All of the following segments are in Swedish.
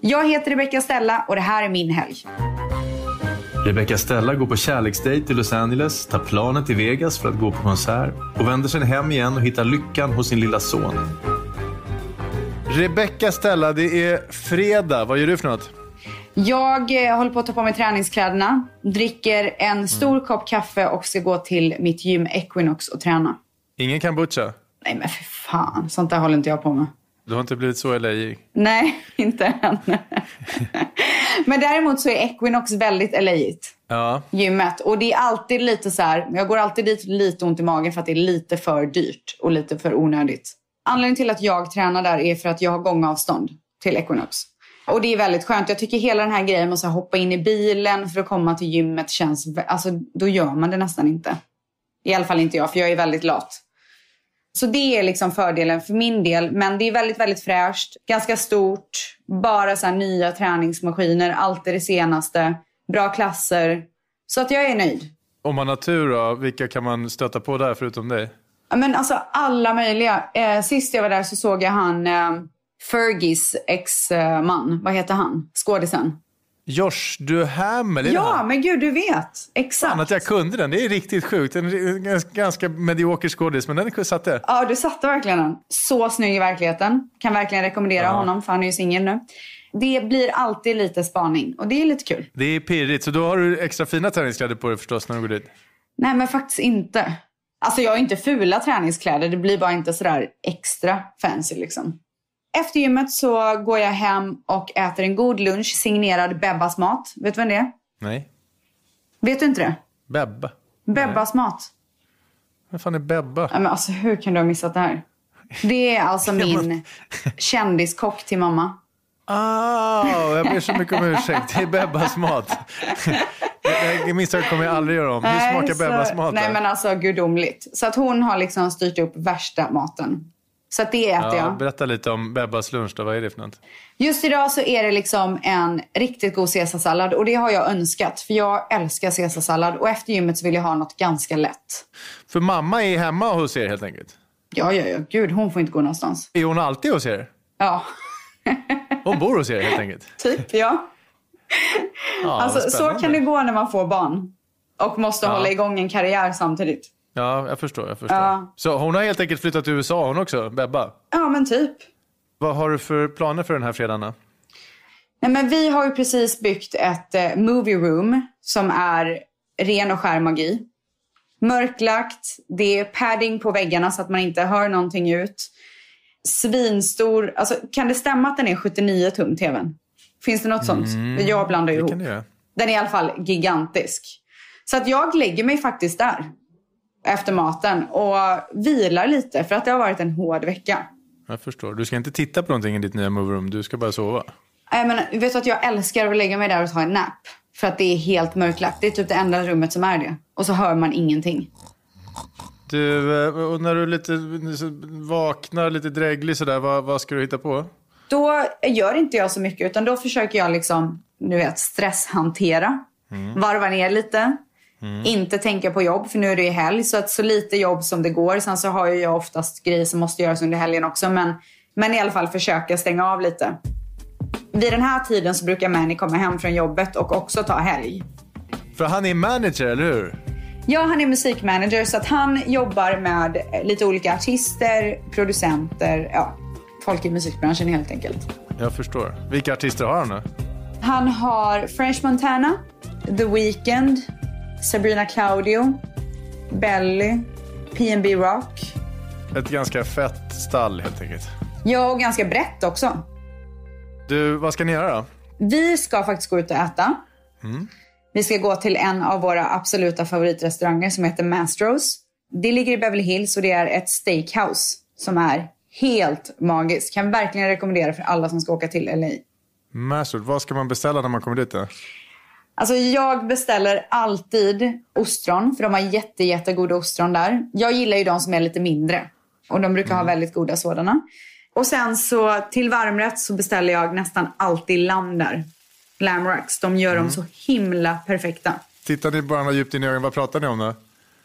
Jag heter Rebecca Stella och det här är min helg. Rebecca Stella går på kärleksdejt till Los Angeles, tar planet till Vegas för att gå på konsert och vänder sen hem igen och hittar lyckan hos sin lilla son. Rebecca Stella, det är fredag. Vad gör du för något? Jag eh, håller på att ta på mig träningskläderna, dricker en stor kopp kaffe och ska gå till mitt gym Equinox och träna. Ingen kombucha? Nej men för fan, sånt där håller inte jag på med. Du har inte blivit så LA. Nej, inte än. men däremot så är Equinox väldigt elejigt. Ja. gymmet. Och det är alltid lite så här, jag går alltid dit lite ont i magen för att det är lite för dyrt och lite för onödigt. Anledningen till att jag tränar där är för att jag har gångavstånd till Equinox. Och det är väldigt skönt. Jag tycker hela den här grejen med att så här hoppa in i bilen för att komma till gymmet känns, vä- alltså då gör man det nästan inte. I alla fall inte jag, för jag är väldigt lat. Så det är liksom fördelen för min del. Men det är väldigt, väldigt fräscht. Ganska stort. Bara så här nya träningsmaskiner. Alltid det senaste. Bra klasser. Så att jag är nöjd. Om man har tur då, vilka kan man stöta på där förutom dig? Ja, Men alltså alla möjliga. Eh, sist jag var där så såg jag han eh, Fergies ex-man. Vad heter han? Skådisen. Josh Duhamel, är det Ja, han? men gud du vet. Fan Exakt. att jag kunde den, det är riktigt sjukt. En gans- ganska medioker skådis, men den satte. Ja, du satte verkligen den. Så snygg i verkligheten. Kan verkligen rekommendera Ja. honom för han är ju singel nu. Det blir alltid lite spaning och det är lite kul. Det är pirrigt, så då har du extra fina träningskläder på dig förstås när du går dit. Nej, men faktiskt inte. Alltså jag har inte fula träningskläder. Det blir bara inte sådär extra fancy liksom. Efter gymmet så går jag hem och äter en god lunch signerad Bebbas mat. Vet du vem det är? Nej. Vet du inte det? Bebba. Bebbas mat. Vem fan är Bebba? Nej, men alltså hur kan du ha missat det här? Det är alltså Ja, men- min kändiskock till mamma. Ah, jag ber så mycket om ursäkt. Det är Bebbas mat. Det här misstaget kommer jag aldrig göra om. Hur Nej, smakar så- Bebbas mat? Nej då? men alltså gudomligt. Så att hon har liksom styrt upp värsta maten. Så att det äter ja, jag. berätta lite om Bebbas lunch då. Vad är det för något? Just idag så är det liksom en riktigt god caesarsallad och det har jag önskat för jag älskar caesarsallad och efter gymmet så vill jag ha något ganska lätt. För mamma är hemma hos er helt enkelt. Ja, ja, ja. Gud, hon får inte gå någonstans. Är hon alltid hos er? Ja, Hon bor hos er helt enkelt. typ ja. Ja, alltså, så spännande. kan det gå när man får barn och måste hålla igång en karriär samtidigt. Ja, jag förstår. Jag förstår. Ja. Så hon har helt enkelt flyttat till USA hon också, Bebba. Ja, men typ. Vad har du för planer för den här fredagen? då? Nej, men vi har ju precis byggt ett eh, movie room som är ren och skär magi. Mörklagt, det är padding på väggarna så att man inte hör någonting ut. Svinstor, alltså kan det stämma att den är 79 tum tvn? Finns det något sånt? Jag blandar Mm, ihop. Det kan du göra. Den är i alla fall gigantisk. Så att jag lägger mig faktiskt där efter maten och vilar lite för att det har varit en hård vecka. Jag förstår. Du ska inte titta på någonting i ditt nya move room. Du ska bara sova. Nej, Eh, men vet du att jag älskar att lägga mig där och ta en nap? För att det är helt mörklagt. Det är typ det enda rummet som är det. Och så hör man ingenting. Du, eh, och när du lite vaknar, lite dräglig sådär, vad, vad ska du hitta på? Då gör inte jag så mycket utan då försöker jag liksom, nu vet, stresshantera. Varva ner lite. Inte tänka på jobb för nu är det ju helg. Så att så lite jobb som det går. Sen så har ju jag oftast grejer som måste göras under helgen också. Men, men i alla fall försöka stänga av lite. Vid den här tiden så brukar Mani komma hem från jobbet och också ta helg. För han är manager, eller hur? Ja, han är musikmanager så att han jobbar med eh, lite olika artister, producenter, ja, folk i musikbranschen helt enkelt. Jag förstår. Vilka artister har han då? Han har French Montana, The Weeknd, Sabrina Claudio, Belly, P&B Rock. Ett ganska fett stall helt enkelt. Ja, och ganska brett också. Du, vad ska ni göra då? Vi ska faktiskt gå ut och äta. Vi ska gå till en av våra absoluta favoritrestauranger som heter Mastros. Det ligger i Beverly Hills och det är ett steakhouse som är helt magiskt. Kan verkligen rekommendera för alla som ska åka till LA. Masters, vad ska man beställa när man kommer dit då? Alltså jag beställer alltid ostron för de har jätte, jättegoda ostron där. Jag gillar ju de som är lite mindre och de brukar ha väldigt goda sådana. Och sen så till varmrätt så beställer jag nästan alltid lamm där. Lamb racks. De gör dem så himla perfekta. Tittar ni bara djupt in i ögonen, vad pratar ni om då?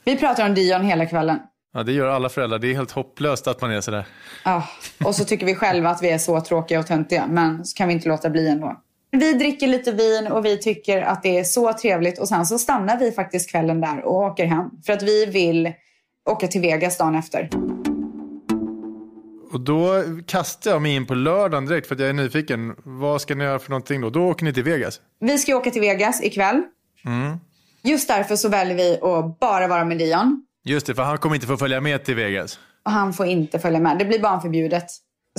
Vi pratar om Dion hela kvällen. Ja, det gör alla föräldrar. Det är helt hopplöst att man är sådär. Ja, och så tycker vi själva att vi är så tråkiga och töntiga, men så kan vi inte låta bli ändå. Vi dricker lite vin och vi tycker att det är så trevligt och sen så stannar vi faktiskt kvällen där och åker hem. För att vi vill åka till Vegas dagen efter. Och då kastar jag mig in på lördagen direkt för att jag är nyfiken. Vad ska ni göra för någonting då? Då åker ni till Vegas. Vi ska ju åka till Vegas ikväll. Mm. Just därför så väljer vi att bara vara med Dion. Just det, för han kommer inte få följa med till Vegas. Och han får inte följa med. Det blir barnförbjudet.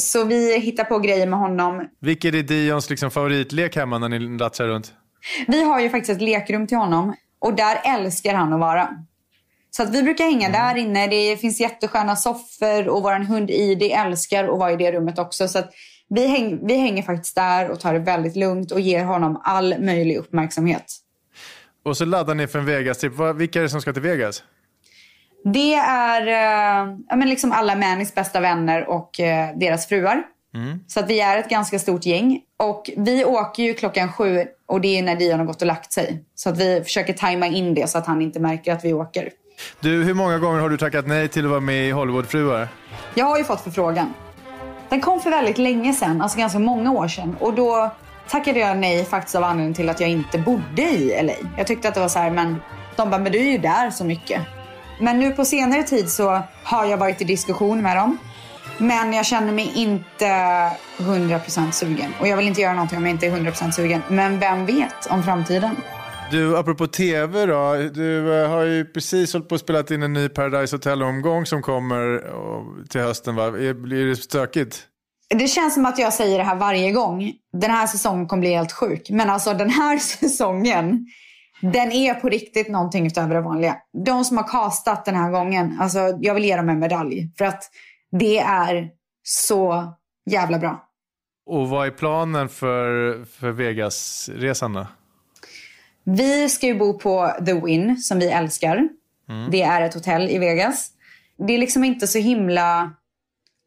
Så vi hittar på grejer med honom. Vilket är Dions liksom favoritlek hemma när ni lattjar runt? Vi har ju faktiskt ett lekrum till honom. Och där älskar han att vara. Så att vi brukar hänga där inne. Det finns jättesköna soffor och vår hund Idi älskar att vara i det rummet också. Så att vi, häng, vi hänger faktiskt där och tar det väldigt lugnt och ger honom all möjlig uppmärksamhet. Och så laddar ni för en Vegas-trip. Vad- Vilka är det som ska till Vegas? Det är eh, ja, men liksom alla Mannys bästa vänner och eh, deras fruar. Så att vi är ett ganska stort gäng. Och vi åker ju klockan sju och det är när Dion har gått och lagt sig. Så att vi försöker tajma in det så att han inte märker att vi åker. Du, hur många gånger har du tackat nej till att vara med i Hollywoodfruar? Jag har ju fått förfrågan. Den kom för väldigt länge sedan, alltså ganska många år sedan. Och då tackade jag nej faktiskt av anledningen till att jag inte bodde i LA. Jag tyckte att det var så här, men de bara, men du är ju där så mycket. Men nu på senare tid så har jag varit i diskussion med dem. Men jag känner mig inte 100% sugen. Och jag vill inte göra någonting om jag inte är 100% sugen. Men vem vet om framtiden? Du, apropå tv då. Du eh, har ju precis hållit på och spelat in en ny Paradise Hotel-omgång som kommer eh, till hösten va? Är- Blir det stökigt? Det känns som att jag säger det här varje gång. Den här säsongen kommer bli helt sjuk. Men alltså den här säsongen, den är på riktigt någonting utöver det vanliga. De som har castat den här gången, alltså jag vill ge dem en medalj. För att det är så jävla bra. Och vad är planen för, för Vegas-resan då? Vi ska ju bo på The Win som vi älskar. Mm. Det är ett hotell i Vegas. Det är liksom inte så himla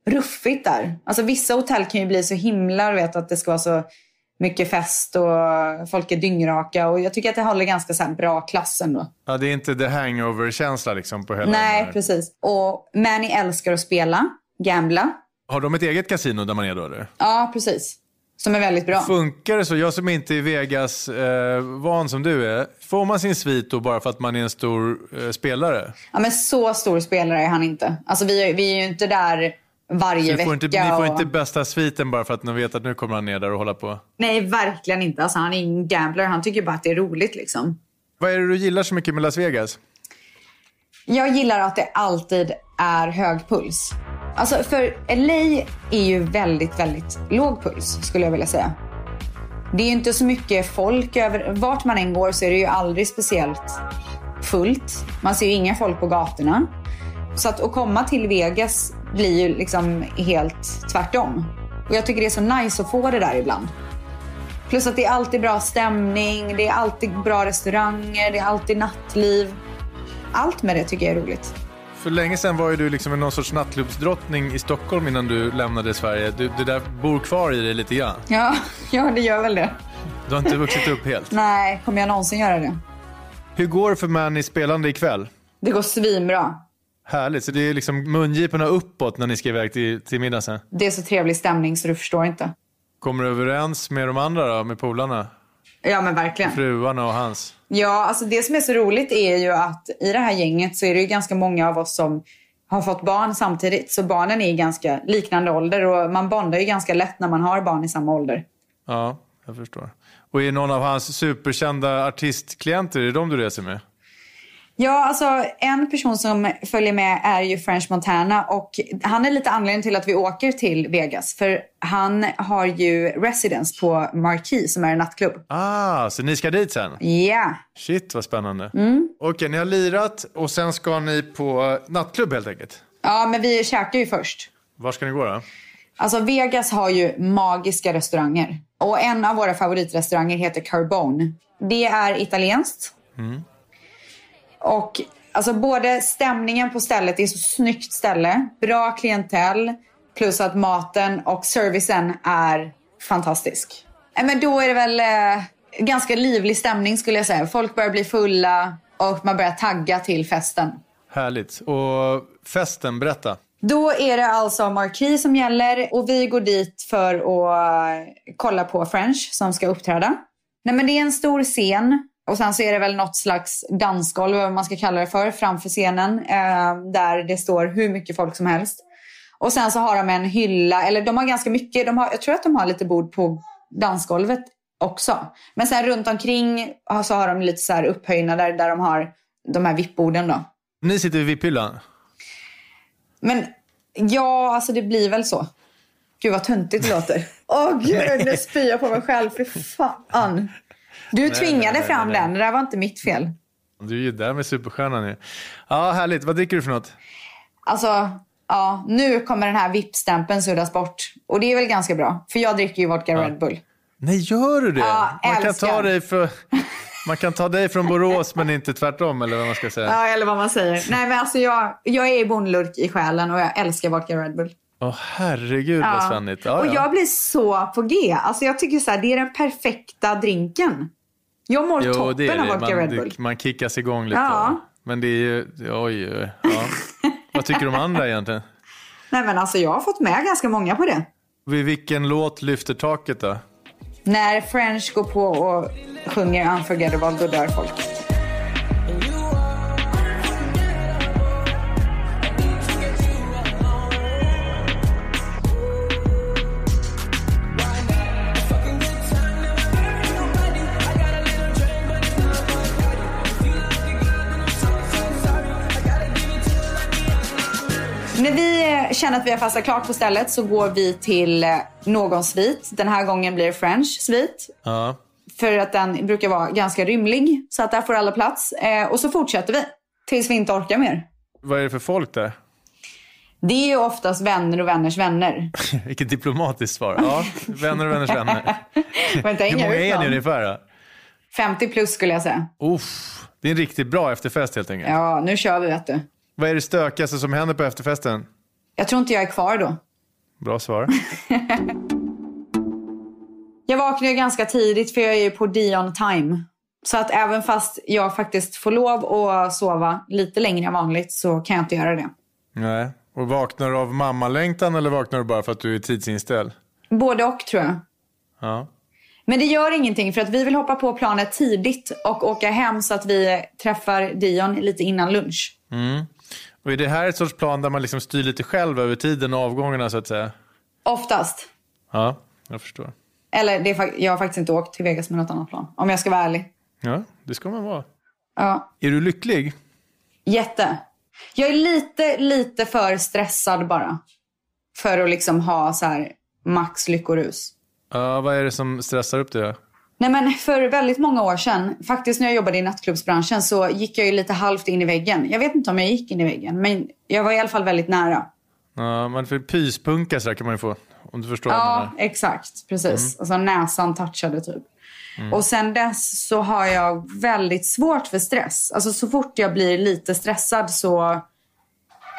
ruffigt där. Alltså vissa hotell kan ju bli så himla, du vet att det ska vara så mycket fest och folk är dyngraka. Och jag tycker att det håller ganska så här bra klass ändå. Ja, det är inte the hangover-känsla liksom på hela den Nej, här. precis. Och Manny älskar att spela, gambla. Har de ett eget kasino där man är då eller? Ja, precis. Som är väldigt bra. Funkar det så? Jag som inte är Vegas-van som du är. Får man sin svit då bara för att man är en stor eh, spelare? Ja, men så stor spelare är han inte. Alltså vi, vi är ju inte där varje Ni får, vecka. inte, ni får och- inte bästa sviten bara för att ni vet att nu kommer han ner där och hålla på. Nej, verkligen inte. Alltså, han är ingen gambler. Han tycker bara att det är roligt. Liksom. Vad är det du gillar så mycket med Las Vegas? Jag gillar att det alltid är hög puls. Alltså, för LA är ju väldigt, väldigt låg puls skulle jag vilja säga. Det är ju inte så mycket folk över... Vart man än går så är det ju aldrig speciellt fullt. Man ser ju inga folk på gatorna. Så att, att komma till Vegas blir ju liksom helt tvärtom. Och jag tycker det är så nice att få det där ibland. Plus att det är alltid bra stämning, det är alltid bra restauranger, det är alltid nattliv. Allt med det tycker jag är roligt. För länge sedan var ju du liksom någon sorts nattklubbsdrottning i Stockholm innan du lämnade Sverige. Du, det där bor kvar i dig lite grann. Ja, ja, det gör väl det. Du har inte vuxit upp helt. Nej, kommer jag någonsin göra det? Hur går det för Mannys spelande ikväll? Det går svinbra. Härligt, så det är liksom mungiporna uppåt när ni ska iväg till, till middag sen. Det är så trevlig stämning så du förstår inte. Kommer du överens med de andra då, med polarna? Ja, men verkligen. Fruarna och hans? Ja, alltså det som är så roligt är ju att i det här gänget så är det ju ganska många av oss som har fått barn samtidigt. Så barnen är i ganska liknande ålder och man bondar ju ganska lätt när man har barn i samma ålder. Ja, jag förstår. Och är någon av hans superkända artistklienter, är det de du reser med? Ja, alltså en person som följer med är ju French Montana och han är lite anledningen till att vi åker till Vegas. För han har ju residence på Marquee som är en nattklubb. Ah, så ni ska dit sen? Ja, Shit vad spännande. Mm. Okej, ni har lirat och sen ska ni på nattklubb helt enkelt. ja men vi käkar ju först. Var ska ni gå då? Alltså Vegas har ju magiska restauranger. Och en av våra favoritrestauranger heter Carbone. Det är italienskt. Och alltså både stämningen på stället, det är så snyggt ställe. Bra klientell. Plus att maten och servicen är fantastisk. Nej, Men då är det väl eh, ganska livlig stämning skulle jag säga. Folk börjar bli fulla och man börjar tagga till festen. Härligt. Och festen, berätta. Då är det alltså Marquis som gäller och vi går dit för att eh, kolla på French som ska uppträda. Nej men det är en stor scen och sen så är det väl något slags dansgolv, vad man ska kalla det för, framför scenen. Eh, där det står hur mycket folk som helst. Och sen så har de en hylla, eller de har ganska mycket, de har, jag tror att de har lite bord på dansgolvet också. Men sen runt omkring så har de lite så här upphöjnader där de har de här vippborden då. Ni sitter vid VIP-hyllan. Men ja, alltså det blir väl så. Gud vad töntigt det låter. Åh gud, nu spyr jag på mig själv. Fy fan. Du tvingade nej, fram nej, nej. den. Det där var inte mitt fel. Du är ju där med superstjärnan ju. Ja, härligt. Vad dricker du för något? Alltså, ja, nu kommer den här VIP-stämpeln suddas bort. Och det är väl ganska bra. För jag dricker ju vodka Red Bull. Nej, gör du det? Ja, man, kan älskar. ta dig för, man kan ta dig från Borås men inte tvärtom eller vad man ska säga. Ja, eller vad man säger. Nej, men alltså jag, jag är bondlurk i själen och jag älskar vodka Red Bull. Åh herregud vad svennigt. Ja, och ja. jag blir så på G. Alltså jag tycker så här, det är den perfekta drinken. Jag mår Jo, det toppen är av det. vodka Man, Red Bull. det- man kickas igång lite. Ja. Men det är ju, oj, oj, oj. ja. Vad tycker de andra egentligen? Nej men alltså jag har fått med ganska många på det. Vid vilken låt lyfter taket då? När French går på och sjunger Unforgettable då dör folk. När vi eh, känner att vi har fastnat klart på stället så går vi till eh, någon svit. Den här gången blir det French svit. Ja. För att den brukar vara ganska rymlig. Så att där får alla plats. Eh, och så fortsätter vi. Tills vi inte orkar mer. Vad är det för folk där? Det är ju oftast vänner och vänners vänner. Vilket diplomatiskt svar. Ja, vänner och vänners vänner. Vänta, Hur inga många är är ni ungefär? Då? 50 plus skulle jag säga. Uff, det är en riktigt bra efterfest helt enkelt. Ja, nu kör vi vet du. Vad är det stökigaste som händer på efterfesten? Jag tror inte jag är kvar då. Bra svar. Jag vaknar ju ganska tidigt för jag är ju på Dion time. Så att även fast jag faktiskt får lov att sova lite längre än vanligt så kan jag inte göra det. Nej. Och vaknar du av mammalängtan eller vaknar du bara för att du är tidsinställd? Både och tror jag. Ja. Men det gör ingenting för att vi vill hoppa på planet tidigt och åka hem så att vi träffar Dion lite innan lunch. Mm. Och är det här ett sorts plan där man liksom styr lite själv över tiden och avgångarna så att säga? Oftast. Ja, jag förstår. Eller det är, fak- jag har faktiskt inte åkt till Vegas med något annat plan. Om jag ska vara ärlig. Ja, det ska man vara. Ja. Är du lycklig? Jätte. Jag är lite, lite för stressad bara. För att liksom ha så här max lyckorus. Ja, vad är det som stressar upp dig då? Nej men för väldigt många år sedan, faktiskt när jag jobbade i nattklubbsbranschen så gick jag ju lite halvt in i väggen. Jag vet inte om jag gick in i väggen men jag var i alla fall väldigt nära. Ja, man får pyspunka så där kan man ju få. Om du förstår vad jag Ja, menar. exakt. Precis. Alltså näsan touchade typ. Och sen dess så har jag väldigt svårt för stress. Alltså så fort jag blir lite stressad så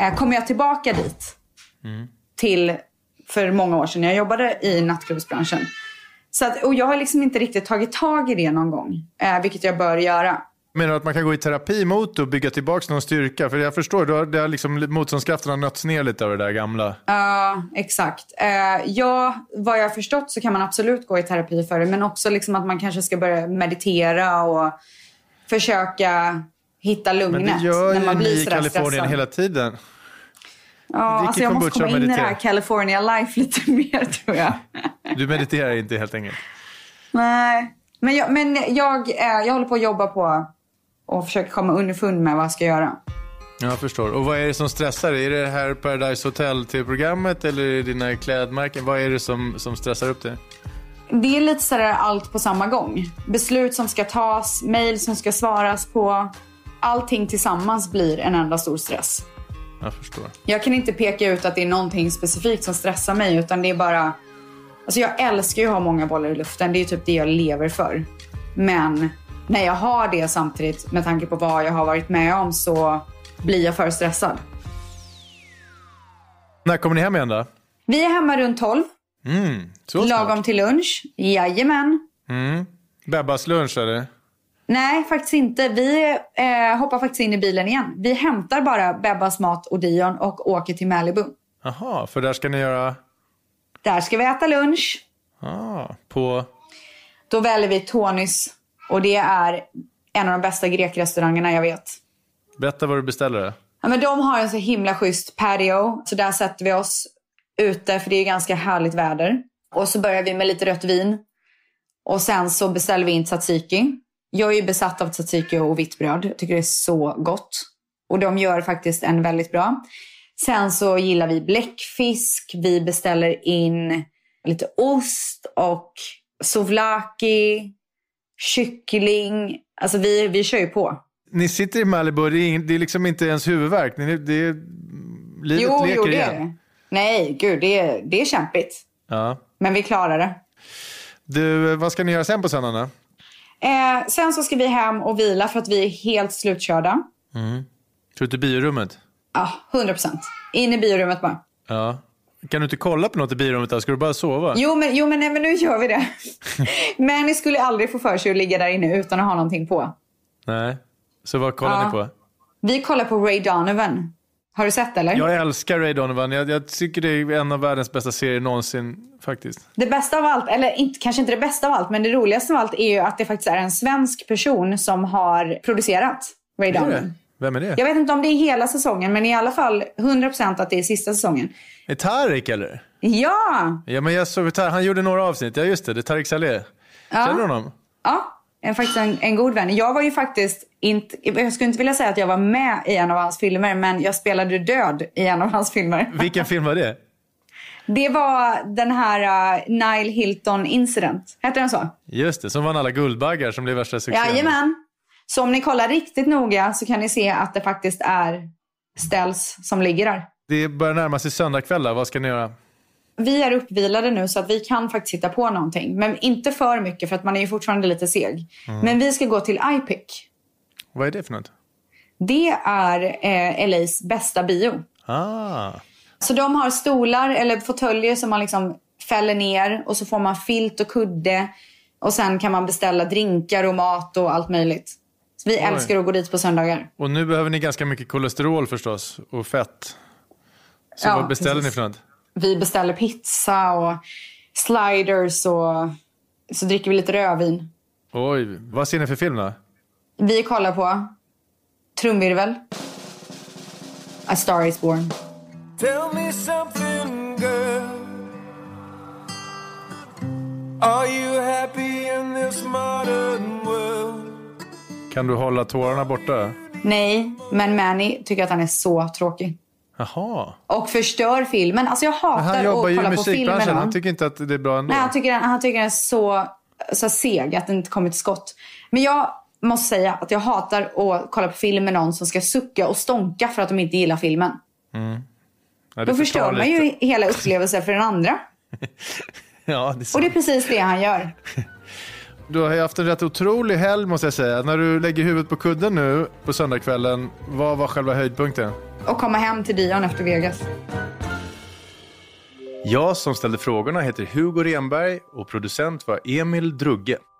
eh, kommer jag tillbaka dit. Till för många år sedan när jag jobbade i nattklubbsbranschen. Så att, och jag har liksom inte riktigt tagit tag i det någon gång. Eh, vilket jag bör göra. Menar du att man kan gå i terapi mot det och bygga tillbaka någon styrka? För jag förstår, du har, det har liksom, motståndskraften har nötts ner lite av det där gamla. Ja, exakt. Eh, ja, vad jag har förstått så kan man absolut gå i terapi för det. Men också liksom att man kanske ska börja meditera och försöka hitta Men lugnet det gör när man ju ni blir i sådär Kalifornien stressad. hela tiden. ja, dricker alltså jag måste kombucha och komma in i det här meditera. California life lite mer tror jag. Du mediterar inte helt enkelt. Nej, men, jag, men jag, eh, jag håller på att jobba på och försöka komma underfund med vad jag ska göra. Jag förstår. Och vad är det som stressar dig? Är det här Paradise Hotel-programmet eller är det dina klädmärken? Vad är det som, som stressar upp dig? Det är lite sådär allt på samma gång. Beslut som ska tas, mejl som ska svaras på. Allting tillsammans blir en enda stor stress. Jag förstår. Jag kan inte peka ut att det är någonting specifikt som stressar mig utan det är bara... Alltså jag älskar ju att ha många bollar i luften. Det är ju typ det jag lever för. Men när jag har det samtidigt med tanke på vad jag har varit med om så blir jag för stressad. När kommer ni hem igen då? Vi är hemma runt 12, Mm, så snart. lagom till lunch. Jajamän. Mm. Bebbas lunch eller? Nej, faktiskt inte. Vi eh, hoppar faktiskt in i bilen igen. Vi hämtar bara Bebbas mat och Dion och åker till Malibu. Jaha, för där ska ni göra... Där ska vi äta lunch. Ah, på... Då väljer vi Tonys och det är en av de bästa grekrestaurangerna jag vet. Berätta vad du beställer. Ja, men de har en så himla schysst patio, så där sätter vi oss ute för det är ganska härligt väder. Och så börjar vi med lite rött vin och sen så beställer vi in tzatziki. Jag är ju besatt av tzatziki och vitt bröd. Jag tycker det är så gott. Och de gör faktiskt en väldigt bra. Sen så gillar vi bläckfisk. Vi beställer in lite ost och souvlaki, kyckling. Alltså vi, vi kör ju på. Ni sitter i Malibu, det är, ing- det är liksom inte ens huvudvärk. Ni, det är, livet Jo, leker jo det är igen. det. Nej, gud det är, det är kämpigt. Ja. Men vi klarar det. Du, vad ska ni göra sen på söndagarna? Eh, sen så ska vi hem och vila för att vi är helt slutkörda. Ska du till biorummet? Ja, 100%. In i biorummet bara. Ja. Kan du inte kolla på något i biorummet? Där? Ska du bara sova? Jo, men, jo men, nej, men nu gör vi det. men ni skulle aldrig få för sig att ligga där inne utan att ha någonting på. Nej. Så vad kollar Ja. ni på? Vi kollar på Ray Donovan. Har du sett eller? Jag älskar Ray Donovan. Jag, jag tycker det är en av världens bästa serier någonsin faktiskt. Det bästa av allt, eller inte, kanske inte det bästa av allt, men det roligaste av allt är ju att det faktiskt är en svensk person som har producerat Ray Är Donovan. det? Vem är det? Jag vet inte om det är hela säsongen, men i alla fall 100% att det är sista säsongen. Är Tarik eller? Ja! Ja, men jag såg Tarik. Han gjorde några avsnitt. Ja, just det. Det är Tarik Saleh. Känner du honom? Ja, en, faktiskt en, en god vän. Jag var ju faktiskt inte, jag skulle inte vilja säga att jag var med i en av hans filmer, men jag spelade död i en av hans filmer. Vilken film var det? Det var den här uh, Nile Hilton Incident. Hette den så? Just det, som vann alla Guldbaggar som blev värsta succén. Jajamän. Så om ni kollar riktigt noga så kan ni se att det faktiskt är Ställs som ligger där. Det börjar närma sig söndagkvällar. Vad ska ni göra? Vi är uppvilade nu så att vi kan faktiskt hitta på någonting. Men inte för mycket för att man är ju fortfarande lite seg. Men vi ska gå till IPIC. Vad är det för något? Det är eh, LAs bästa bio. Ah, Så de har stolar eller fåtöljer som man liksom fäller ner och så får man filt och kudde. Och sen kan man beställa drinkar och mat och allt möjligt. Så vi älskar att gå dit på söndagar. och nu behöver ni ganska mycket kolesterol förstås och fett. Så Ja, vad beställer precis. ni för något? Vi beställer pizza och sliders och så dricker vi lite rödvin. Oj, vad ser ni för film då? Vi kollar på trumvirvel. A Star Is Born. Tell me something, girl. Are you happy in this modern world? Kan du hålla tårarna borta? Nej, men Manny tycker att han är så tråkig. Jaha. Och förstör filmen. Alltså jag hatar Han att jobbar ju i kolla på filmen. musikbranschen. Han tycker inte att det är bra ändå. Nej, han tycker, han tycker den är så, så seg att den inte kommer till skott. Men jag måste säga att jag hatar att kolla på film med någon som ska sucka och stånka för att de inte gillar filmen. Nej, det Då förstör förtar man lite. ju hela upplevelsen för den andra. Ja, det är Och sant. det är precis det han gör. Du har ju haft en rätt otrolig helg måste jag säga. När du lägger huvudet på kudden nu på söndagskvällen, vad var själva höjdpunkten? Och komma hem till Dion efter Vegas. Jag som ställde frågorna heter Hugo Renberg och producent var Emil Drugge.